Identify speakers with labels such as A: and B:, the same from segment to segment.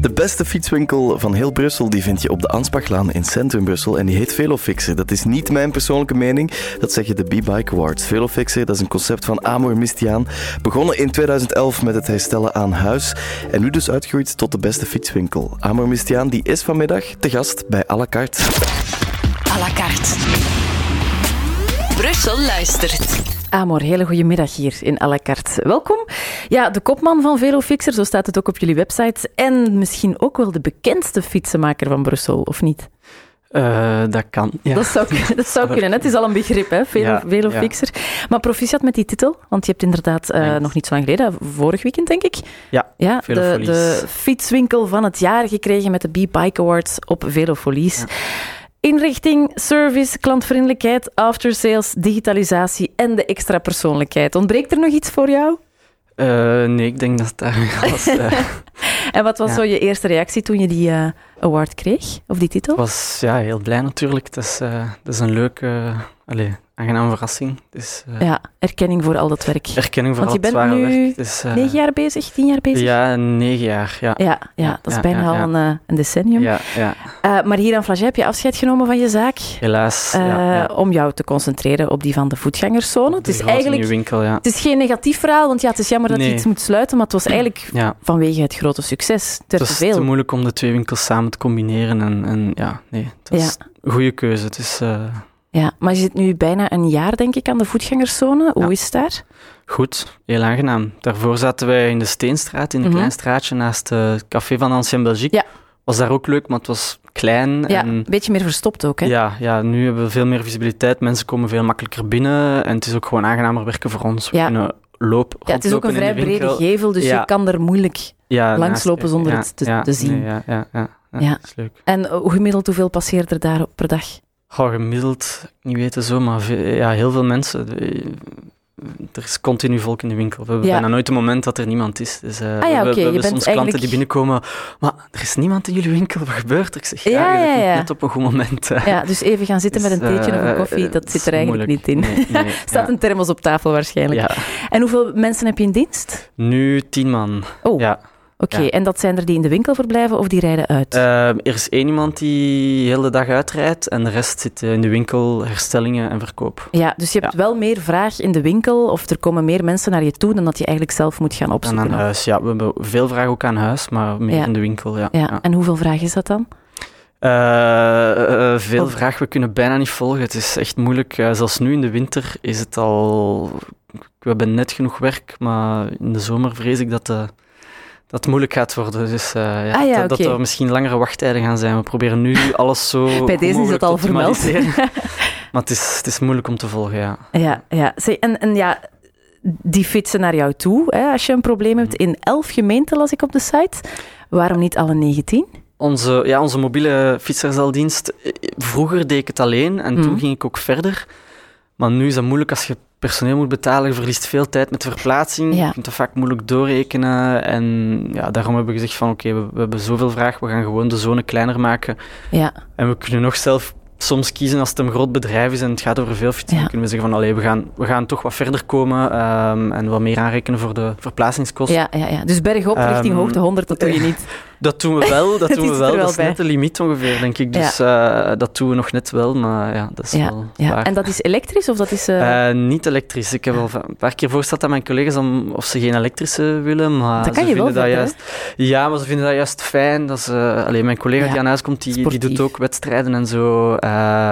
A: De beste fietswinkel van heel Brussel die vind je op de Anspachlaan in Centrum Brussel en die heet Velofixer. Dat is niet mijn persoonlijke mening, dat zeggen de B-Bike Wards. Velofixer, dat is een concept van Amor Mistiaan, begonnen in 2011 met het herstellen aan huis en nu dus uitgroeit tot de beste fietswinkel. Amor Mistiaan die is vanmiddag te gast bij à la carte.
B: à la carte. Brussel luistert.
C: Amor, hele goede middag hier in à la carte. Welkom. Ja, de kopman van Velofixer, zo staat het ook op jullie website. En misschien ook wel de bekendste fietsenmaker van Brussel, of niet?
D: Eh, dat kan. Ja.
C: Dat zou, dat zou kunnen. hè. Het is al een begrip, hè? Velo,
D: Ja,
C: Velofixer. Maar proficiat met die titel, want je hebt inderdaad eh,
D: Thanks.
C: nog niet zo lang geleden, vorig weekend denk ik,
D: Ja,
C: ja, de,
D: Velofolies.
C: de fietswinkel van het jaar gekregen met de B-Bike Awards op Velofolies. Inrichting, service, klantvriendelijkheid, aftersales, digitalisatie en de extra persoonlijkheid. Ontbreekt er nog iets voor jou?
D: Eh, nee, ik denk dat het daar was. eh,
C: En wat was
D: Ja.
C: zo je eerste reactie toen je die eh, award kreeg, of die titel?
D: ik was ja, heel blij natuurlijk. Het is, eh, het is een leuke, eh, allee, aangename verrassing. Het is eh,
C: Ja, erkenning voor al dat werk.
D: erkenning voor
C: Want je
D: al het
C: bent
D: zware
C: nu
D: werk. Het is, eh,
C: Negen jaar bezig, tien jaar bezig?
D: Ja, negen jaar. Ja,
C: Ja, ja, dat is
D: Ja,
C: bijna
D: ja, ja.
C: al een, eh, een decennium.
D: ja, ja.
C: Eh, maar hier aan Flagey heb je afscheid genomen van je zaak
D: helaas. ja,
C: eh,
D: ja.
C: om jou te concentreren op die van de voetgangerszone. Het
D: De
C: is
D: grote
C: eigenlijk
D: nieuwe winkel, ja.
C: Het is geen negatief verhaal, want ja, het is jammer dat je
D: Nee.
C: iets moet sluiten, maar het was eigenlijk
D: ja. Dus
C: vanwege het grote succes ter
D: Het
C: te
D: was te
C: veel.
D: moeilijk om de twee winkels samen te combineren. En, en ja, nee, het was een goede keuze. Het is eh,
C: Ja, maar je zit nu bijna een jaar, denk ik, aan de voetgangerszone. Hoe
D: Ja.
C: is het daar?
D: Goed, heel aangenaam. Daarvoor zaten wij in de Steenstraat, in een
C: Mhm.
D: klein straatje naast eh, het café van Ancien Belgique.
C: Ja.
D: Was daar ook leuk, maar het was klein.
C: Ja,
D: en,
C: een beetje meer verstopt ook, hè?
D: ja, ja, nu hebben we veel meer visibiliteit. Mensen komen veel makkelijker binnen en het is ook gewoon aangenamer werken voor ons. We
C: Ja.
D: kunnen loop,
C: Ja, het is ook een
D: rondlopen
C: vrij
D: in de
C: brede
D: winkel.
C: gevel, dus
D: Ja.
C: je kan er moeilijk...
D: ja,
C: langs
D: naast-
C: lopen zonder het te- te zien.
D: nee, ja, ja, ja, ja,
C: Ja.
D: dat is leuk.
C: En eh, gemiddeld, hoeveel passeert er daar per dag?
D: Goh, gemiddeld, niet weten zo, maar ve- ja, heel veel mensen. de- Er is continu volk in de winkel. We hebben
C: Ja. Ah
D: bijna nooit een moment dat er niemand is. Dus, eh,
C: ja,
D: we, hebben-
C: oké,
D: we
C: je
D: hebben
C: bent
D: soms klanten die
C: eigenlijk-
D: binnenkomen. Maar er is niemand in jullie winkel. Wat gebeurt er? Ik zeg, ja,
C: Ja,
D: je zit
C: ja,
D: niet
C: ja.
D: net op een goed moment. eh.
C: Ja, dus even gaan zitten
D: Dus,
C: met een theetje of een
D: eh,
C: koffie, dat
D: het
C: zit
D: is
C: er eigenlijk
D: moeilijk.
C: niet in.
D: Nee, nee,
C: Er staat
D: ja.
C: een thermos op tafel waarschijnlijk.
D: Ja.
C: En hoeveel mensen heb je in dienst?
D: Nu tien man.
C: Oh,
D: Ja.
C: oké.
D: ja.
C: En dat zijn er die in de winkel verblijven of die rijden uit?
D: Eh, er is één iemand die heel de dag uitrijdt en de rest zit eh, in de winkel, herstellingen en verkoop.
C: Ja, dus je hebt wel meer vraag in de winkel of er komen meer mensen naar je toe dan dat je eigenlijk zelf moet gaan
D: En eh,
C: opzoeken.
D: aan huis, ja. We hebben veel vragen ook aan huis, maar meer
C: Ja.
D: in de winkel, ja.
C: ja.
D: ja.
C: en hoeveel vraag is dat dan?
D: Eh, eh, veel
C: Of-
D: vraag, we kunnen bijna niet volgen. Het is echt moeilijk. Eh, zelfs nu in de winter is het al. We hebben net genoeg werk, maar in de zomer vrees ik dat, eh, dat het moeilijk gaat worden. Dus eh, ja,
C: Ah ja,
D: dat, dat
C: oké.
D: er misschien langere wachttijden gaan zijn. We proberen nu alles zo.
C: Bij
D: goed
C: deze is
D: mogelijk
C: dat
D: te
C: al vermeld.
D: optimaliseren. maar het is, het is moeilijk om te volgen, ja.
C: ja, ja. Zeg, en, en ja, die fietsen naar jou toe hè, als je een probleem
D: Mhm.
C: hebt. In elf gemeenten las ik op de site. Waarom niet alle 19?
D: Onze, ja, onze mobiele fietsersdeldienst. eh, Vroeger deed ik het alleen en
C: Mhm.
D: toen ging ik ook verder. Maar nu is dat moeilijk als je personeel moet betalen. Je verliest veel tijd met de verplaatsing.
C: Ja.
D: Je kunt dat vaak moeilijk doorrekenen. En ja, daarom hebben we gezegd van oké, we, we hebben zoveel vraag. We gaan gewoon de zone kleiner maken.
C: Ja,
D: En we kunnen nog zelf soms kiezen als het een groot bedrijf is en het gaat over veel fietsen.
C: Ja.
D: Dan kunnen we zeggen van allee, we gaan, we gaan toch wat verder komen ehm, en wat meer aanrekenen voor de verplaatsingskosten.
C: ja, ja, ja. Dus bergop
D: Ehm,
C: richting hoogte 100, dat doe je niet.
D: Dat doen we wel, dat
C: Het is
D: doen we
C: er
D: wel.
C: wel
D: Dat is
C: bij.
D: net de limiet ongeveer, denk ik. Dus eh, dat doen we nog net wel, maar ja, dat is wel
C: Ja.
D: waar.
C: En dat is elektrisch of dat is... eh,
D: Eh, niet elektrisch. Ik heb al va- een paar keer voorgesteld aan mijn collega's om, of ze geen elektrische willen, maar
C: Dat kan
D: ze
C: je wel
D: vinden dat
C: vinden,
D: juist... Ja, maar ze vinden dat juist fijn. Dat ze, allee, mijn collega
C: Ja.
D: die aan huis komt, die, die
C: Sportief.
D: doet ook wedstrijden en zo. eh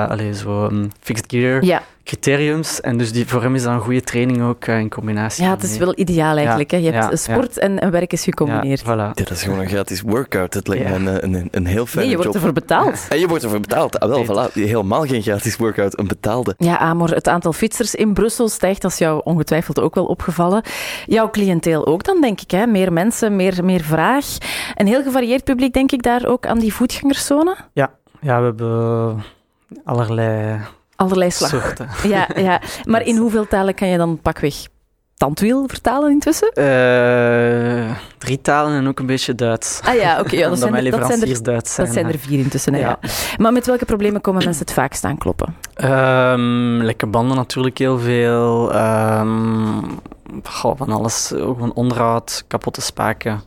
D: allee, zo mm, fixed gear
C: ja.
D: criteriums. En dus die, voor hem is dat een goede training ook eh, in combinatie
C: ja, het is
D: daarmee.
C: wel ideaal eigenlijk. hè. Je hebt
D: ja,
C: eh, sport en, en werk is gecombineerd.
D: Ja, voilà.
A: Ja, dat is gewoon een gratis workout. Dat lijkt
D: Ja.
A: me een, een, een heel fijne
C: nee, je wordt
A: job.
C: ervoor betaald.
A: En je wordt ervoor betaald. Ah, wel, voilà. Helemaal geen gratis workout, een betaalde.
C: Ja, Amor, het aantal fietsers in Brussel stijgt, dat is jou ongetwijfeld ook wel opgevallen. Jouw cliënteel ook dan, denk ik. Hè? Meer mensen, meer, meer vraag. Een heel gevarieerd publiek, denk ik, daar ook aan die voetgangerszone.
D: ja, we hebben allerlei
C: Allerlei slag.
D: soorten.
C: Ja, ja. Maar in hoeveel talen kan je dan pakweg tandwiel vertalen intussen?
D: Eh, drie talen en ook een beetje Duits.
C: Ah ja, oké. ja, dat,
D: Omdat
C: zijn
D: mijn
C: er- dat, zijn er-
D: leveranciers Duits zijn.
C: dat zijn er vier intussen. hè, Ja.
D: Ja.
C: Maar met welke problemen komen mensen het vaakst aankloppen?
D: Ehm, lekke banden natuurlijk heel veel. Ehm, goh, van alles. Ook gewoon onderhoud, kapotte spaken.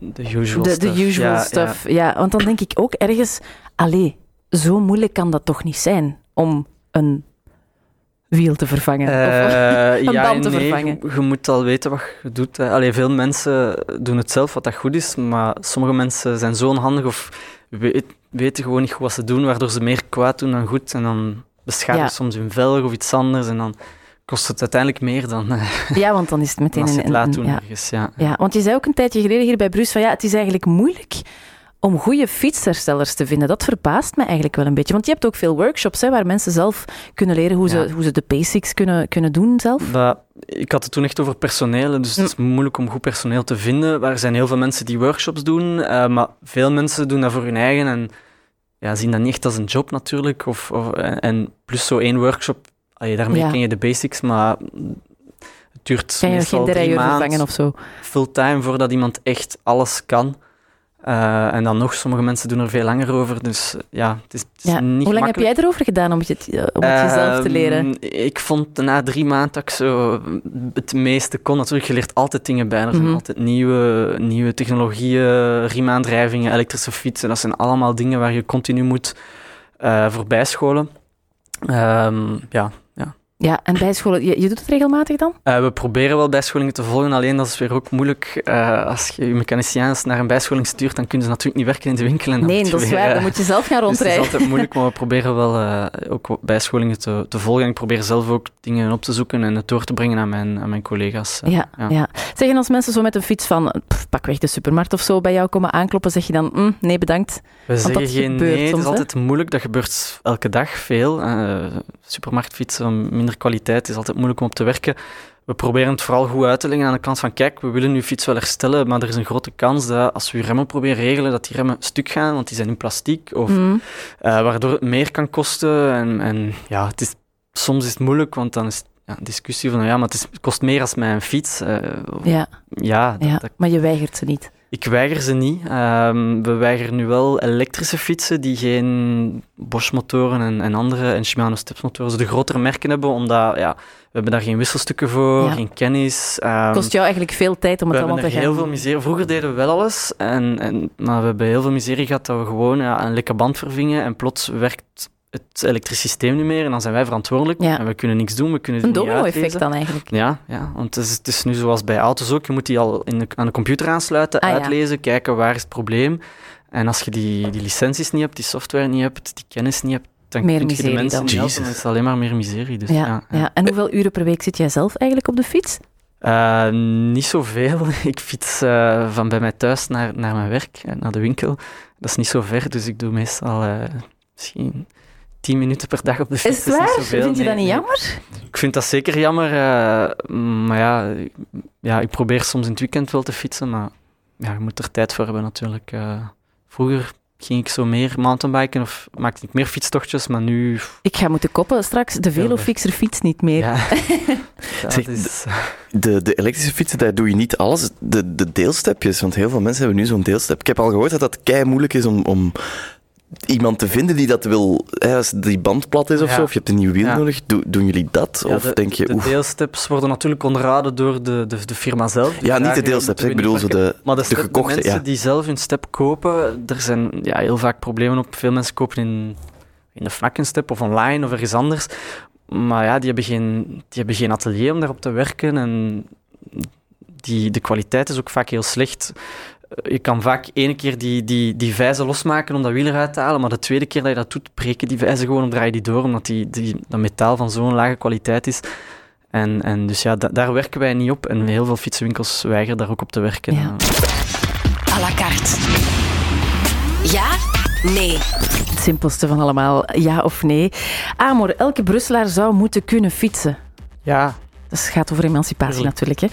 D: de usual
C: De,
D: stuff.
C: de usual
D: Ja, ja.
C: stuff. Ja. want dan denk ik ook ergens... Allee, zo moeilijk kan dat toch niet zijn om een wiel te vervangen? Of-
D: Eh,
C: een
D: ja
C: band
D: en
C: te
D: nee,
C: vervangen.
D: Je, je moet al weten wat je doet. hè. Allee, veel mensen doen het zelf, wat dat goed is, maar sommige mensen zijn zo onhandig of weet- weten gewoon niet goed wat ze doen, waardoor ze meer kwaad doen dan goed. En dan beschadigen
C: Ja.
D: ze soms hun velg of iets anders en dan kost het uiteindelijk meer dan eh,
C: ja, want dan is het meteen
D: als je
C: een...
D: het laat
C: een-
D: doen
C: ja.
D: ergens. Ja.
C: Ja, want je zei ook een tijdje geleden hier bij Bruce van ja, het is eigenlijk moeilijk om goede fietsherstellers te vinden. Dat verbaast me eigenlijk wel een beetje. Want je hebt ook veel workshops hè, waar mensen zelf kunnen leren hoe,
D: Ja.
C: ze, hoe ze de basics kunnen, kunnen doen zelf.
D: Dat, ik had het toen echt over personeel, hè, dus het is
C: Mm.
D: moeilijk om goed personeel te vinden. Er zijn heel veel mensen die workshops doen, eh, maar veel mensen doen dat voor hun eigen en ja, zien dat niet echt als een job natuurlijk. Of, of, en, en plus zo één workshop, allee, daarmee
C: Ja.
D: ken je de basics, maar het duurt
C: Kan je nog geen
D: meestal
C: derailleur
D: drie
C: vervangen
D: maanden
C: of zo?
D: fulltime voordat iemand echt alles kan. Eh, en dan nog, sommige mensen doen er veel langer over, dus eh, ja, het is, het is
C: Ja.
D: niet
C: Hoe lang heb
D: gemakkelijk.
C: jij erover gedaan om het, eh, om het jezelf te
D: Ehm,
C: leren?
D: Ik vond na drie maanden dat ik zo het meeste kon. Natuurlijk, je leert altijd dingen bij. Er zijn
C: Mhm.
D: altijd nieuwe, nieuwe technologieën, riemaandrijvingen, elektrische fietsen. Dat zijn allemaal dingen waar je continu moet eh voorbij scholen. Ehm, ja.
C: Ja, en bijscholen, je, je doet het regelmatig dan?
D: Eh, we proberen wel bijscholingen te volgen, alleen dat is weer ook moeilijk. Eh, als je je mechaniciëns naar een bijscholing stuurt, dan kunnen ze natuurlijk niet werken in de winkel. En dan
C: Nee,
D: moet je
C: dat is
D: weer,
C: waar.
D: eh,
C: Dan moet je zelf gaan
D: dus het is
C: rondrijden.
D: altijd moeilijk, maar we proberen wel eh, ook wat bijscholingen te, te volgen. En ik probeer zelf ook dingen op te zoeken en het door te brengen aan mijn, aan mijn collega's. eh.
C: Ja, ja.
D: ja.
C: Zeggen als mensen zo met een fiets van pff, pakweg de supermarkt of zo bij jou komen aankloppen, zeg je dan mm, nee bedankt.
D: Eh, We zeggen
C: dat
D: geen
C: gebeurt
D: nee, het
C: soms,
D: is
C: hè?
D: altijd moeilijk. Dat gebeurt elke dag veel. Eh, supermarktfietsen van minder kwaliteit is altijd moeilijk om op te werken. We proberen het vooral goed uit te leggen aan de kant van kijk, we willen uw fiets wel herstellen, maar er is een grote kans dat als we uw remmen proberen regelen, dat die remmen stuk gaan, want die zijn in plastic of
C: Mm.
D: Eh, waardoor het meer kan kosten. En, en ja, het is, soms is het moeilijk, want dan is het, ja, een discussie van, nou ja, maar het, is, het kost meer als mijn fiets. Eh, of-
C: Ja,
D: ja, dat-
C: ja,
D: dat-
C: maar je weigert ze niet.
D: ik weiger ze niet. Ehm, we weigeren nu wel elektrische fietsen die geen Bosch-motoren en, en andere, en Shimano Steps-motoren, zo de grotere merken hebben, omdat ja, we hebben daar geen wisselstukken voor,
C: Ja.
D: geen kennis. ehm,
C: kost jou eigenlijk veel tijd om
D: we
C: het allemaal
D: hebben er
C: te gaan.
D: heel veel miserie. Vroeger deden we wel alles, en, en, maar we hebben heel veel miserie gehad dat we gewoon ja, een lekke band vervingen en plots werkt het elektrisch systeem niet meer en dan zijn wij verantwoordelijk
C: Ja.
D: en we kunnen niks doen, we kunnen het
C: Een
D: niet
C: domino-effect
D: uitlezen.
C: dan eigenlijk.
D: Ja, ja, want het is, het is nu zoals bij auto's ook. Je moet die al in de, aan de computer aansluiten,
C: Ah, ja.
D: uitlezen, kijken waar is het probleem. En als je die, die licenties niet hebt, die software niet hebt, die kennis niet hebt, dan
C: Meer
D: kun je de
C: miserie
D: mensen
C: dan.
D: niet helpen.
A: Jezus.
D: Het is alleen maar meer miserie. Dus,
C: Ja,
D: ja,
C: ja,
D: ja.
C: En hoeveel uren per week zit jij zelf eigenlijk op de fiets?
D: Eh, niet zoveel. Ik fiets eh, van bij mij thuis naar, naar mijn werk, eh, naar de winkel. Dat is niet zo ver, dus ik doe meestal eh, misschien 10 minuten per dag op de fiets.
C: Is het
D: Dat
C: waar?
D: niet zoveel.
C: Vind je
D: Nee,
C: dat niet
D: nee.
C: jammer?
D: Ik vind dat zeker jammer, eh, maar ja, ja, ik probeer soms in het weekend wel te fietsen, maar ja, je moet er tijd voor hebben natuurlijk. Eh, vroeger ging ik zo meer mountainbiken of maakte ik meer fietstochtjes, maar nu...
C: Ik ga moeten koppelen straks. De
D: Jammer.
C: velofixer fietst niet meer.
D: Ja, dat
A: Zeg,
D: is...
A: De, de elektrische fietsen, daar doe je niet alles. De, de deelstepjes, want heel veel mensen hebben nu zo'n deelstep. Ik heb al gehoord dat dat kei moeilijk is om, om iemand te vinden die dat wil. Hè, als die band plat is of
D: Ja.
A: zo, of je hebt een nieuw wiel
D: Ja.
A: nodig, do- doen jullie dat?
D: Ja,
A: of denk je,
D: de
A: oef.
D: deelsteps worden natuurlijk onderraden door de, de, de firma zelf. Dus
A: Ja, niet
D: daar
A: de deelsteps,
D: moeten we
A: ik bedoel
D: niet
A: zo
D: werken.
A: de,
D: maar de, step- de
A: gekochte.
D: mensen
A: ja.
D: die zelf hun step kopen, er zijn ja, heel vaak problemen op. Veel mensen kopen in, in de FNAC een step of online of ergens anders. Maar ja, die hebben geen, die hebben geen atelier om daarop te werken. En die, de kwaliteit is ook vaak heel slecht. Eh, Je kan vaak ene keer die, die, die vijzen losmaken om dat wiel eruit te halen, maar de tweede keer dat je dat doet, breken die vijzen gewoon, of draai je die door, omdat die, die, dat metaal van zo'n lage kwaliteit is. En, en dus ja, da- daar werken wij niet op. En heel veel fietsenwinkels weigeren daar ook op te werken. Eh,
C: Ja.
B: à la carte. Ja, nee,
C: Het simpelste van allemaal, ja of nee. Amor, elke Brusselaar zou moeten kunnen fietsen.
D: Ja,
C: Dat gaat over emancipatie
D: Tuurlijk.
C: natuurlijk.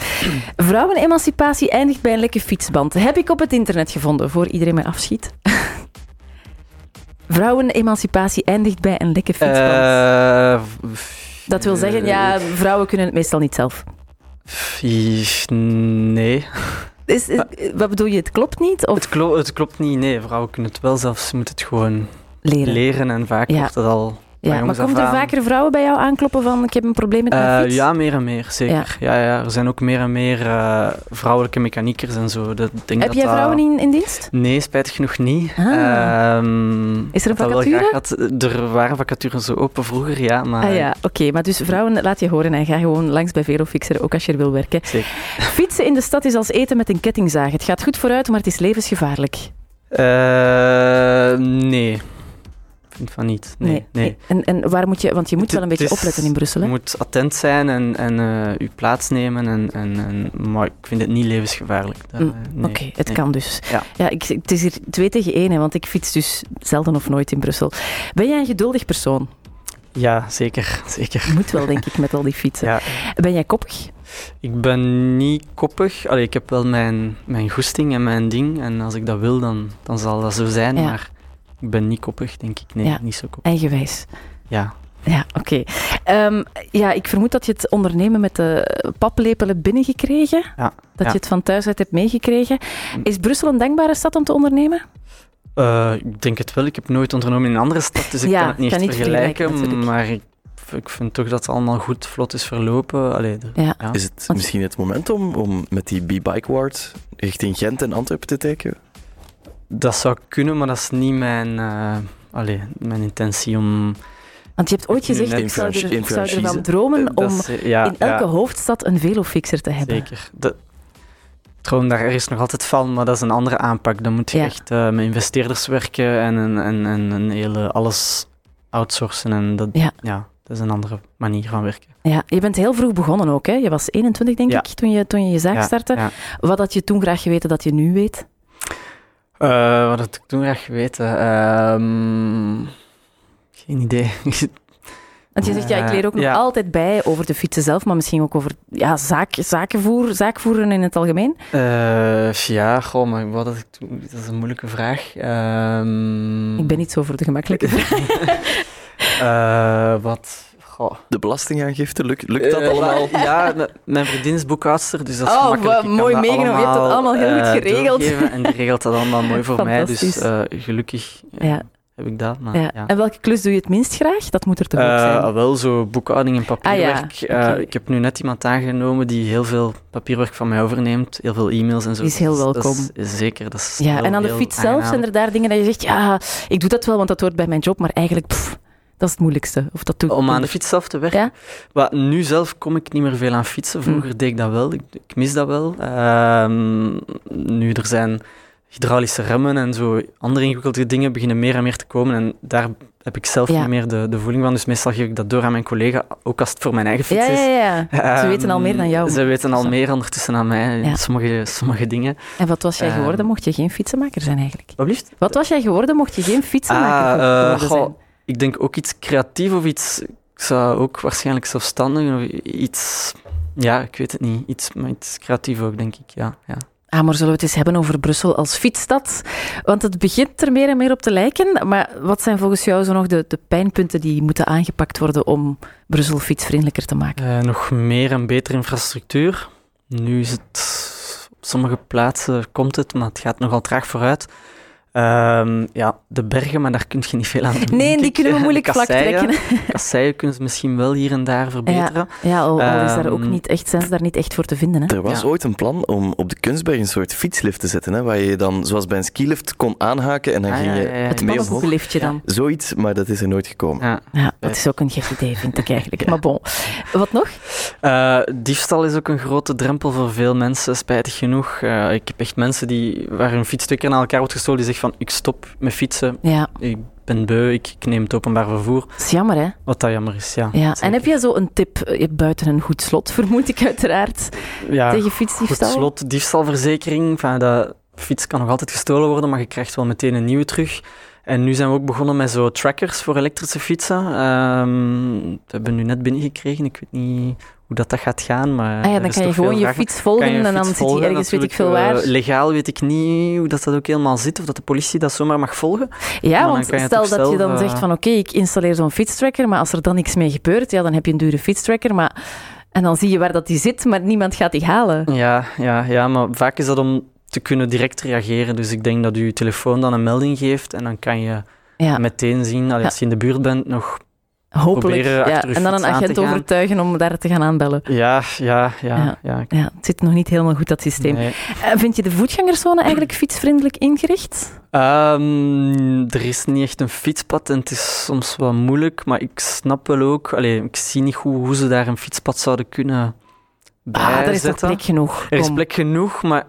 C: Hè. Vrouwenemancipatie eindigt bij een lekke fietsband. Heb ik op het internet gevonden, voor iedereen mij afschiet. Vrouwenemancipatie eindigt bij een lekke fietsband.
D: Eh,
C: Dat wil zeggen, ja, vrouwen kunnen het meestal niet zelf.
D: f- i- Nee.
C: Is, is-
D: Ah.
C: wat bedoel je, het klopt niet? Of
D: Het, klo- het klopt niet. Nee, vrouwen kunnen het wel zelfs. Ze moeten het gewoon
C: leren?
D: leren. En vaak
C: Ja.
D: wordt dat al
C: Ja, maar
D: jongs af
C: komen er
D: aan.
C: vaker vrouwen bij jou aankloppen van ik heb een probleem met mijn
D: Eh,
C: fiets?
D: ja, meer en meer, zeker. Ja. Ja, er zijn ook meer en meer eh, vrouwelijke mechaniekers en zo. Dat, ik denk
C: heb
D: dat
C: jij
D: dat-
C: vrouwen in, in dienst?
D: Nee, spijtig genoeg niet.
C: Ah.
D: Ehm,
C: Is er een
D: dat wel
C: vacature?
D: graag had. Er waren vacatures zo open vroeger, ja, maar
C: Ah ja, oké. maar dus vrouwen, laat je horen en ga gewoon langs bij Velofixer, ook als je er wil werken.
D: Zeker.
C: Fietsen in de stad is als eten met een kettingzaag. Het gaat goed vooruit, maar het is levensgevaarlijk.
D: eh, nee. Ik vind van niet. Nee, nee.
C: En, en waar moet je... Want je moet
D: Het-
C: wel een beetje
D: het is-
C: opletten in Brussel,
D: Je
C: hè?
D: moet attent zijn en, en eh je plaats nemen. En, en, en, maar ik vind het niet levensgevaarlijk. Dat,
C: Mm,
D: eh, nee.
C: Oké, het
D: nee.
C: kan dus. Ja,
D: Ja.
C: ik, het is hier twee tegen één, hè, want ik fiets dus zelden of nooit in Brussel. Ben jij een geduldig persoon?
D: Ja, zeker. zeker.
C: Moet wel, denk ik, met al die fietsen.
D: Ja.
C: Ben jij koppig?
D: Ik ben niet koppig. Allee, ik heb wel mijn, mijn goesting en mijn ding. En als ik dat wil, dan, dan zal dat zo zijn.
C: Ja.
D: Maar ik ben niet koppig, denk ik. Nee,
C: Ja.
D: niet zo koppig.
C: Eigenwijs.
D: Ja.
C: Ja, oké. Ehm, ja, ik vermoed dat je het ondernemen met de paplepelen binnengekregen.
D: Ja,
C: Dat
D: ja.
C: je het van thuis uit hebt meegekregen. Is Brussel een dankbare stad om te ondernemen?
D: Eh, ik denk het wel. Ik heb nooit ondernomen in een andere stad, dus ik
C: Ja,
D: kan het niet
C: kan
D: echt
C: niet
D: vergelijken.
C: vergelijken,
D: maar ik, ik vind toch dat het allemaal goed vlot is verlopen. Allee, er-
C: Ja.
D: ja.
A: Is het
C: Want-
A: misschien het moment om, om met die B-Bike Ward richting Gent en Antwerpen te tekenen?
D: Dat zou kunnen, maar dat is niet mijn, eh, allee, mijn intentie om...
C: Want je hebt ooit
D: Ik nu
C: gezegd,
D: net
C: ik zou, er,
A: infranchi-
C: ik zou ervan
A: infranchise.
C: dromen
D: dat
C: om
D: is- ja,
C: in elke
D: ja,
C: hoofdstad een velofixer te hebben.
D: Zeker. De, ik droom daar ergens nog altijd van, maar dat is een andere aanpak. Dan moet je
C: Ja.
D: echt eh, met investeerders werken en, en, en, en een hele, alles outsourcen. En dat,
C: Ja.
D: ja. dat is een andere manier van werken.
C: Ja, je bent heel vroeg begonnen ook, hè? Je was 21, denk
D: Ja.
C: ik, toen je, toen je je zaak
D: Ja,
C: startte.
D: ja.
C: Wat had je toen graag geweten dat je nu weet?
D: Eh, wat had ik toen graag geweten? Ehm, geen idee.
C: Want je zegt, ja, ik leer ook nog
D: Eh, Ja.
C: altijd bij over de fietsen zelf, maar misschien ook over ja, zaak, zakenvoer, zaakvoeren in het algemeen.
D: Eh, ja, goh, maar wat had ik toen? Dat is een moeilijke vraag. Ehm,
C: Ik ben niet zo voor de gemakkelijke vraag.
D: eh, wat? Goh.
A: De belastingaangifte, lukt, lukt dat
D: Eh,
A: allemaal?
D: maar- Ja, m- mijn vriendin is boekhoudster, dus dat is
C: Oh,
D: gemakkelijk.
C: wat
D: Ik kan
C: mooi
D: dat
C: meegenomen. Je hebt dat allemaal heel
D: eh,
C: goed geregeld.
D: doorgeven En die regelt dat allemaal mooi voor mij, dus
C: Fantastisch.
D: eh, gelukkig eh,
C: Ja,
D: heb ik dat. Maar,
C: ja.
D: Ah, ja.
C: En welke klus doe je het minst graag? Dat moet er toch ook
D: Eh,
C: zijn.
D: wel, zo boekhouding en papierwerk.
C: Ah, ja.
D: Eh,
C: Oké.
D: ik heb nu net iemand aangenomen die heel veel papierwerk van mij overneemt. Heel veel e-mails en zo. Dus
C: Die is heel
D: Dat dat
C: welkom.
D: is zeker. Dat is
C: Ja,
D: heel,
C: en aan de
D: heel
C: fiets zelf
D: aangenaam.
C: zijn er daar dingen dat je zegt, ja, ik doe dat wel, want dat hoort bij mijn job, maar eigenlijk, pff, dat is het moeilijkste. Of dat doe ik
D: Om aan de
C: niet.
D: fiets zelf te werken.
C: Ja. Hm.
D: Wat, nu zelf kom ik niet meer veel aan fietsen. Vroeger deed ik dat wel. Ik, ik mis dat wel. Ehm, nu, er zijn hydraulische remmen en zo. Andere ingewikkelde dingen beginnen meer en meer te komen. En daar heb ik zelf
C: Ja.
D: niet meer de, de voeling van. Dus meestal geef ik dat door aan mijn collega. Ook als het voor mijn eigen fiets
C: Ja,
D: is.
C: ja, ja. Ze weten al meer dan jou.
D: Ehm, Ze weten al
C: Zo.
D: meer ondertussen dan mij,
C: Ja.
D: sommige, sommige dingen.
C: En wat was jij
D: Ehm.
C: geworden mocht je geen fietsenmaker zijn eigenlijk?
D: Wat
C: Wat was jij geworden mocht je geen fietsenmaker
D: Ah, eh,
C: geworden zijn?
D: goh, ik denk ook iets creatief of iets... Ik zou ook waarschijnlijk zelfstandig of iets... Ja, ik weet het niet. Iets, maar iets creatief ook, denk ik. Ja, ja.
C: Ah, maar zullen we het eens hebben over Brussel als fietsstad? Want het begint er meer en meer op te lijken. Maar wat zijn volgens jou zo nog de, de pijnpunten die moeten aangepakt worden om Brussel fietsvriendelijker te maken?
D: Eh, nog meer en betere infrastructuur. Nu is het... Op sommige plaatsen komt het, maar het gaat nogal traag vooruit. Ehm, ja, de bergen, maar daar kun je niet veel aan doen.
C: Nee,
D: denk
C: die
D: ik.
C: kunnen we
D: De
C: moeilijk vlak
D: kasseien-
C: trekken.
D: Kasseien kunnen ze misschien wel hier en daar verbeteren.
C: Ja, al, al is daar
D: Ehm.
C: ook niet echt, zijn ze daar niet echt voor te vinden. Hè?
A: Er was
D: Ja.
A: ooit een plan om op de Kunstberg een soort fietslift te zetten, hè, waar je dan zoals bij een skilift kon aanhaken en dan
D: Ah,
A: ging
D: ja,
A: je
D: ja, ja, ja.
A: het
D: Het
A: mee omhoog.
C: pannenkoekenliftje
D: ja.
C: dan.
A: Zoiets, maar dat is er nooit gekomen.
D: Ja.
C: Ja, dat is ook een gek idee, vind ik eigenlijk. Maar bon, wat nog?
D: Eh, diefstal is ook een grote drempel voor veel mensen, spijtig genoeg. Eh, ik heb echt mensen die, waar hun fiets twee keer aan elkaar wordt gestolen, die zeggen van ik stop met fietsen,
C: Ja,
D: ik ben beu, ik, ik neem het openbaar vervoer.
C: dat is jammer, hè?
D: Wat dat jammer is, ja.
C: Ja. En
D: Zeker.
C: heb jij zo een tip, eh, buiten een goed slot, vermoed ik uiteraard,
D: ja,
C: tegen
D: Ah, goed
C: fietsdiefstal?
D: slot, diefstalverzekering. Enfin, de fiets kan nog altijd gestolen worden, maar je krijgt wel meteen een nieuwe terug. En nu zijn we ook begonnen met zo trackers voor elektrische fietsen. Ehm, we hebben nu net binnengekregen, ik weet niet hoe dat, dat gaat gaan. Maar
C: Ah ja,
D: er
C: dan
D: is
C: kan je
D: toch veel
C: gewoon je
D: vraag
C: fiets volgen
D: Kan je
C: en dan
D: fiets
C: zit je
D: volgen,
C: ergens, weet ik veel
D: natuurlijk.
C: waar.
D: Eh, legaal weet ik niet hoe dat, dat ook helemaal zit, of dat de politie dat zomaar mag volgen.
C: Ja,
D: dan
C: want
D: kan je
C: stel
D: toch
C: dat je
D: zelf,
C: dan
D: eh,
C: zegt van oké, ik installeer zo'n fietstracker, maar als er dan niks mee gebeurt, ja, dan heb je een dure fietstracker, maar... En dan zie je waar dat die zit, maar niemand gaat die halen.
D: Ja, ja, ja, maar vaak is dat om te kunnen direct reageren. Dus ik denk dat je telefoon dan een melding geeft en dan kan je
C: Ja,
D: meteen zien, allee,
C: Ja.
D: als je in de buurt bent, nog
C: Hopelijk.
D: Proberen
C: Ja,
D: achter uw
C: en dan een
D: fiets aan te
C: agent
D: gaan.
C: overtuigen om daar te gaan aanbellen.
D: Ja, ja, ja.
C: Ja.
D: ja.
C: Ja, het zit nog niet helemaal goed, dat systeem.
D: Nee.
C: Eh, vind je de voetgangerszone eigenlijk fietsvriendelijk ingericht?
D: Ehm, er is niet echt een fietspad en het is soms wel moeilijk, maar ik snap wel ook, allee, ik zie niet goed hoe ze daar een fietspad zouden kunnen
C: Ah,
D: bijzetten.
C: daar is toch plek genoeg.
D: Er is
C: Kom.
D: plek genoeg, maar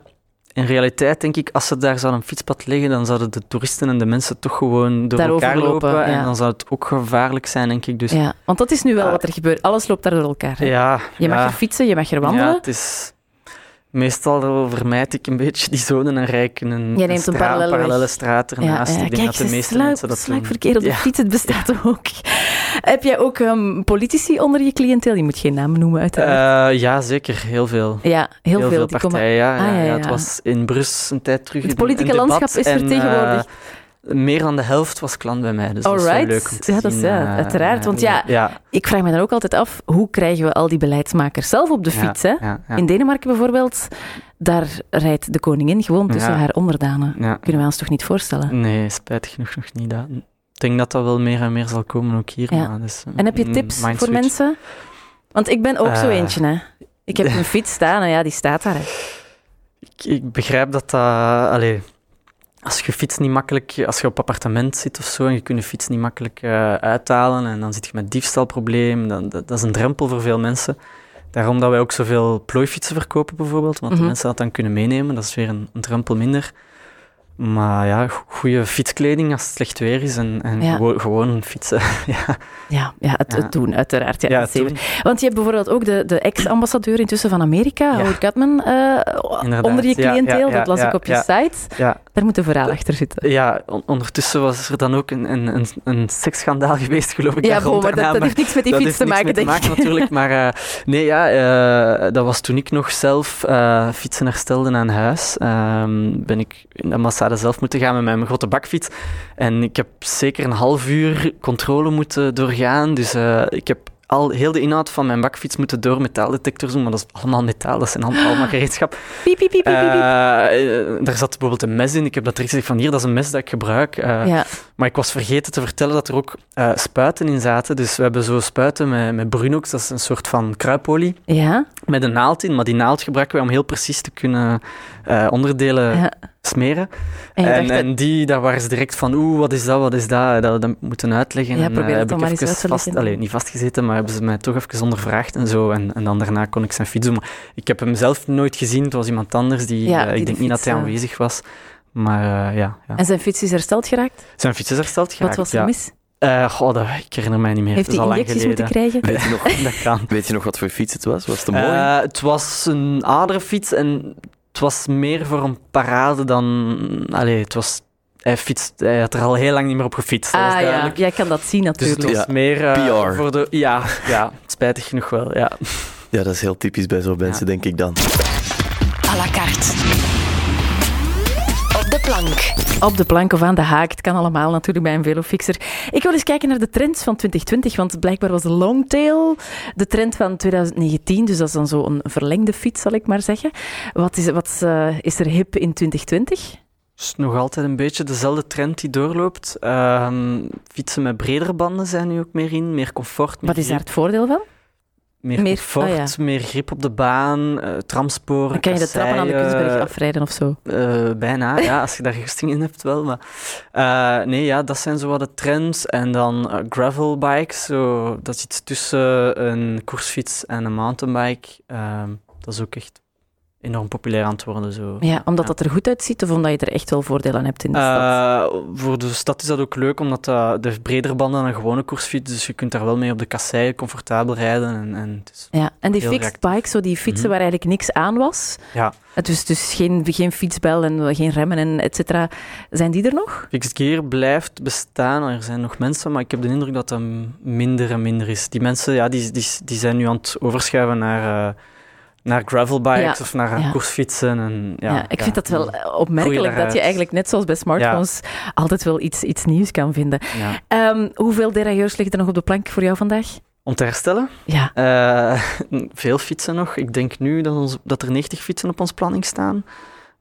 D: in realiteit denk ik, als ze daar zouden een fietspad leggen, dan zouden de toeristen en de mensen toch gewoon door
C: Daarover
D: elkaar lopen.
C: lopen, ja.
D: En dan zou het ook gevaarlijk zijn, denk ik. Dus ja,
C: Ja, want dat is nu wel
D: Ah.
C: wat er gebeurt. Alles loopt daar door elkaar. hè.
D: ja,
C: Je mag er fietsen, je mag er
D: Ja,
C: wandelen.
D: het is... Meestal vermijd ik een beetje die zone en rijd ik een,
C: Jij neemt een
D: straat-
C: parallele weg.
D: straat
C: Ja, ja,
D: ernaast. ik denk
C: kijk,
D: dat de
C: ze
D: meeste
C: sluip-
D: mensen dat doen.
C: sluipverkeer op de
D: Ja.
C: fiets, het bestaat ook. Heb jij ook ehm, politici onder je cliënteel? Je moet geen namen noemen, uiteraard.
D: Eh, ja, zeker. Eh, Heel veel.
C: ja, heel, veel. die
D: partijen,
C: komen...
D: ja, ja,
C: Ah, ja,
D: ja,
C: ja.
D: Het was in Brussel een tijd terug
C: Het
D: een- een
C: politieke
D: debat
C: landschap is
D: en,
C: vertegenwoordigd.
D: eh, meer dan de helft was klant bij mij, dus dat is wel
C: Alright.
D: leuk om te
C: Ja, dat is-
D: zien.
C: ja,
D: eh,
C: uiteraard,
D: eh,
C: want ja,
D: ja,
C: Ik vraag me dan ook altijd af, hoe krijgen we al die beleidsmakers zelf op de
D: ja,
C: fiets? Hè?
D: Ja, ja,
C: In Denemarken bijvoorbeeld, daar rijdt de koningin gewoon tussen
D: Ja. Mm,
C: haar onderdanen.
D: ja.
C: Kunnen we ons toch niet voorstellen?
D: Nee, spijtig genoeg nog niet. Dat. Ik denk dat dat wel meer en meer zal komen, ook hier.
C: Ja.
D: maar dus, eh,
C: En heb je
D: mm,
C: tips voor
D: mindswitch.
C: mensen? Want ik ben ook zo
D: Eh.
C: eentje, hè. Ik heb een fiets staan en ja, die staat daar. hè.
D: Ik, ik begrijp dat dat... Allee, als je fiets niet makkelijk... Als je op appartement zit of zo en je kunt de fiets niet makkelijk eh, uithalen en dan zit je met diefstalprobleem, dan, dat, dat is een drempel voor veel mensen. Daarom dat wij ook zoveel plooifietsen verkopen bijvoorbeeld, want
C: Mhm.
D: de mensen dat dan kunnen meenemen, dat is weer een, een drempel minder. Maar ja, goede fietskleding als het slecht weer is en, en
C: Ja.
D: gewoon, gewoon fietsen. ja,
C: Ja, ja, het,
D: Ja.
C: het doen, uiteraard. Ja,
D: Ja,
C: zeker.
D: toen-
C: Want je hebt bijvoorbeeld ook de, de ex-ambassadeur intussen van Amerika,
D: Ja.
C: Howard Gutman, eh
D: Inderdaad.
C: onder je
D: Ja, ja,
C: cliënteel.
D: ja,
C: dat las
D: ja,
C: ik op je
D: ja.
C: site.
D: ja,
C: Daar moet een verhaal achter zitten.
D: Ja, on- ondertussen was er dan ook een, een, een, een seksschandaal geweest, geloof ik.
C: Ja,
D: daar
C: gewoon,
D: rond
C: maar dat,
D: daarna,
C: dat heeft niks met die
D: dat
C: fiets te
D: heeft niks
C: maken,
D: mee
C: denk ik.
D: natuurlijk. Maar eh, nee, ja, eh, dat was toen ik nog zelf eh, fietsen herstelde aan huis. ehm, ben ik in de ambassade zelf moeten gaan met mijn grote bakfiets. En ik heb zeker een half uur controle moeten doorgaan. Dus eh, ik heb al heel de inhoud van mijn bakfiets moeten door metaaldetectors doen. Maar dat is allemaal metaal, dat zijn allemaal, allemaal gereedschap.
C: Piep, piep, piep, piep, piep.
D: Eh, eh, daar zat bijvoorbeeld een mes in. Ik heb dat direct gezegd van hier, dat is een mes dat ik gebruik. Eh,
C: ja.
D: Maar ik was vergeten te vertellen dat er ook eh, spuiten in zaten. Dus we hebben zo spuiten met, met Brunox, dat is een soort van kruipolie,
C: ja,
D: met een naald in. Maar die naald gebruiken wij om heel precies te kunnen eh, onderdelen
C: ja.
D: smeren.
C: En je
D: En,
C: dacht, dat-
D: en die, daar waren ze direct van, oeh, wat is dat, wat is dat? Eh, Dat, dat moeten uitleggen.
C: Ja,
D: en, eh,
C: probeer dat
D: heb
C: dan
D: ik
C: maar eens
D: even
C: uit te
D: vast,
C: leggen.
D: allee, niet vastgezeten, maar hebben ze mij toch even ondervraagd en zo. En, en dan daarna kon ik zijn fiets doen. Maar ik heb hem zelf nooit gezien, het was iemand anders. Die,
C: Ja,
D: eh,
C: die
D: ik
C: de
D: denk niet dat
C: fiets,
D: hij
C: eh,
D: aanwezig was. Maar eh, ja, ja.
C: en zijn fiets is hersteld geraakt.
D: Zijn fiets is hersteld geraakt.
C: Wat was er
D: ja.
C: mis?
D: Eh, goh, dat, ik herinner mij niet meer.
C: Heeft
D: het is
C: hij
D: al lang
C: injecties moeten
D: geleden.
C: krijgen?
A: Weet je, nog,
D: Dat kan.
A: weet je nog wat voor fiets het was? Was het een mooie?
D: Eh, het was een aderfiets en het was meer voor een parade dan... Allee, het was... Hij, fietst, hij had er al heel lang niet meer op gefietst. dat was
C: Ah ja,
D: duidelijk.
C: jij kan dat zien
D: Dus het
C: natuurlijk.
D: was
A: Ja,
D: meer eh,
A: PR.
D: voor de... Ja, ja, spijtig genoeg wel. Ja.
A: Ja, dat is heel typisch bij zo'n mensen, denk ik dan.
B: à la carte. Op de plank.
C: Op de plank of aan de haak, het kan allemaal natuurlijk bij een velofixer. Ik wil eens kijken naar de trends van 2020, want blijkbaar was de longtail de trend van 2019, dus dat is dan zo'n verlengde fiets, zal ik maar zeggen. Wat is, wat, eh, is er hip in 2020?
D: Het is nog altijd een beetje dezelfde trend die doorloopt. Ehm, fietsen met bredere banden zijn nu ook meer in. Meer comfort. Meer
C: Wat is daar
D: grip,
C: het voordeel van?
D: Meer,
C: meer-
D: comfort,
C: ah,
D: meer grip op de baan, eh tramsporen.
C: Dan kan je de trappen aan de
D: kasseien,
C: Kunstberg afrijden of zo.
D: Eh, bijna, ja, als je daar goesting in hebt wel. Maar, eh, nee, ja, dat zijn zo wat de trends. En dan eh, gravelbikes, zo, dat is iets tussen een koersfiets en een mountainbike. Ehm, dat is ook echt enorm populair aan het worden. Zo.
C: Ja, omdat
D: Ja.
C: dat er goed uitziet of omdat je er echt wel voordeel aan hebt in de stad?
D: Eh, voor de stad is dat ook leuk, omdat dat, de bredere banden dan een gewone koersfiets. Dus je kunt daar wel mee op de kasseien comfortabel rijden. En, en het is-
C: Ja, en die
D: heel
C: fixed
D: reactief.
C: bike, zo die fietsen
D: Mhm.
C: waar eigenlijk niks aan was.
D: ja,
C: Het is dus geen, geen fietsbel en geen remmen en et cetera. Zijn die er nog?
D: Fixed gear blijft bestaan. Er zijn nog mensen, maar ik heb de indruk dat dat minder en minder is. Die mensen ja, die, die, die zijn nu aan het overschuiven naar, eh naar gravelbikes
C: Ja,
D: of naar
C: ja.
D: koersfietsen. En, ja,
C: ik
D: ja.
C: vind dat wel eh, opmerkelijk
D: Groei
C: dat je
D: daaruit.
C: eigenlijk net zoals bij smartphones altijd wel iets, iets nieuws kan vinden.
D: Ja.
C: Ehm, hoeveel derailleurs liggen er nog op de plank voor jou vandaag?
D: Om te herstellen,
C: Ja,
D: eh, veel fietsen nog. Ik denk nu dat, ons, dat er 90 fietsen op ons planning staan.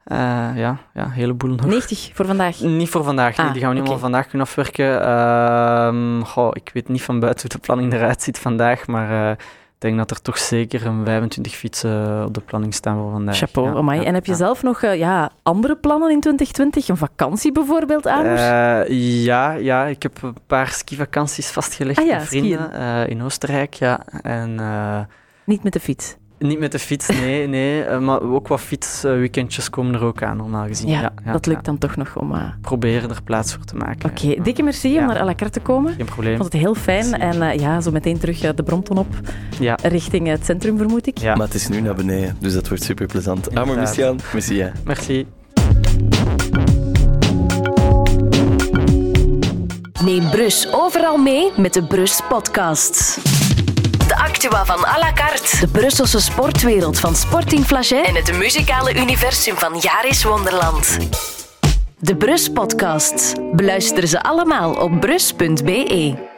D: Eh, ja, ja, een heleboel nog.
C: 90 voor vandaag.
D: Niet voor vandaag. nee.
C: Ah,
D: die gaan we niet
C: oké.
D: allemaal vandaag kunnen afwerken. Ehm, goh, ik weet niet van buiten hoe de planning eruit ziet vandaag, maar eh, ik denk dat er toch zeker een 25 fietsen eh, op de planning staan voor vandaag.
C: Chapeau,
D: Ja,
C: amai.
D: ja,
C: En heb je
D: ja.
C: zelf nog eh, ja, andere plannen in 2020? Een vakantie bijvoorbeeld, Amers?
D: Eh, ja, ja, ik heb een paar skivakanties vastgelegd
C: Ah ja,
D: met vrienden eh, in Oostenrijk. Ja. En eh,
C: Niet met de fiets.
D: niet met de fiets, nee, nee. eh, maar ook wat fietsweekendjes komen er ook aan, normaal gezien.
C: Ja,
D: ja,
C: dat lukt
D: ja.
C: dan toch nog om... eh,
D: Proberen er plaats voor te maken.
C: Oké, dikke merci om
D: Ja.
C: naar à la carte te komen.
D: Geen
C: Ik
D: probleem.
C: vond het heel fijn. En
D: Merci.
C: eh, ja, zo meteen terug eh, de Brompton op,
D: Ja.
C: richting het centrum vermoed ik.
D: Ja.
A: Maar het is nu naar beneden, dus dat wordt super plezant. Amor,
D: Inderdaad.
A: Mistiaan, merci jij.
D: Merci.
B: Neem Brus overal mee met de Brus Podcast. De actua van à la carte. De Brusselse sportwereld van Sporting Flagey. En het muzikale universum van Jaris Wonderland. De Brus E. Podcast. Beluister ze allemaal op brus.be.